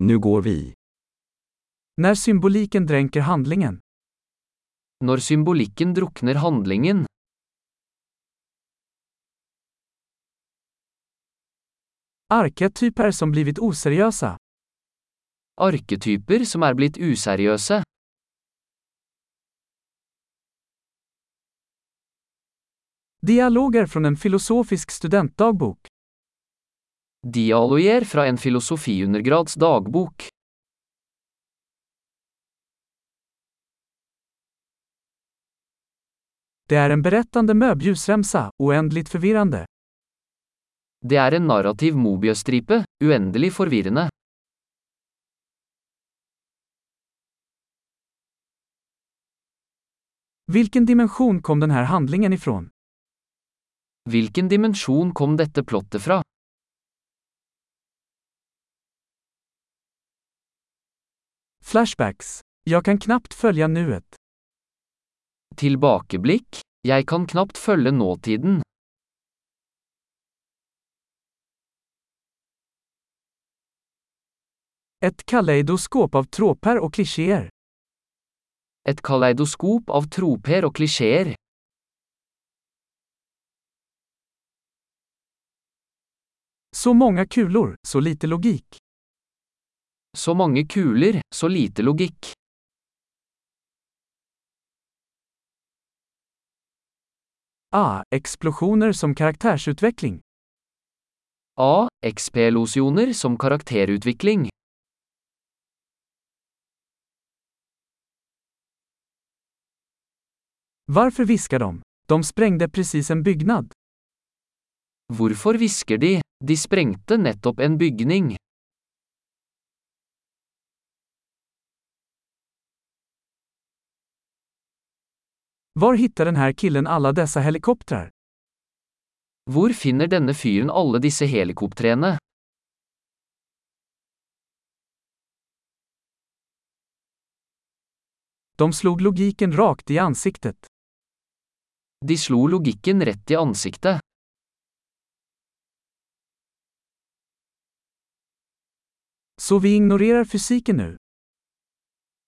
Nu går vi. När symboliken dränker handlingen. Når symbolikken drukner handlingen. Arketyper som blivit oseriösa. Arketyper som er blitt useriøse. Dialoger från en filosofisk studentdagbok. Dialoger fra en filosofiundergrads dagbok. Det är en berättande möbljusremsa, oändligt förvirrande. Det er en narrativ Mobius-stripe, uendelig forvirrende. Vilken dimension kom den här handlingen ifrån? Hvilken dimensjon kom dette plottet fra? Flashbacks. Jag kan knappt följa nuet. Tilbakeblikk? Jeg kan knapt følge nåtiden. Ett kaleidoskop av tråper och klichéer. Et kaleidoskop av troper og klisjeer. Så många kulor, så lite logik. Så mange kuler, så lite logikk. Ah, explosioner som karaktärsutveckling. A. XP-losjoner som karakterutvikling. Varför viskar de? De sprängde precis en byggnad. Hvorfor hvisker de? De sprengte nettopp en bygning. Var hittar den här killen alla dessa helikoptrar? Hvor finner denne fyren alle disse helikoptrene? De slog logiken rakt i ansiktet. De slo logikken rett i ansiktet. Så vi ignorerar fysiken nu.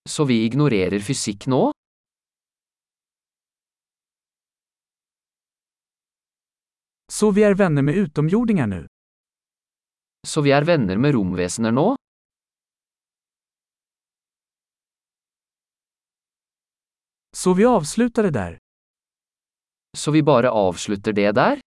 Så vi ignorerer fysikk nå? Så vi är vänner med utomjordingar nu. Så vi er venner med romvesener nå? Så vi avslutar det där. Så vi bare avslutter det der?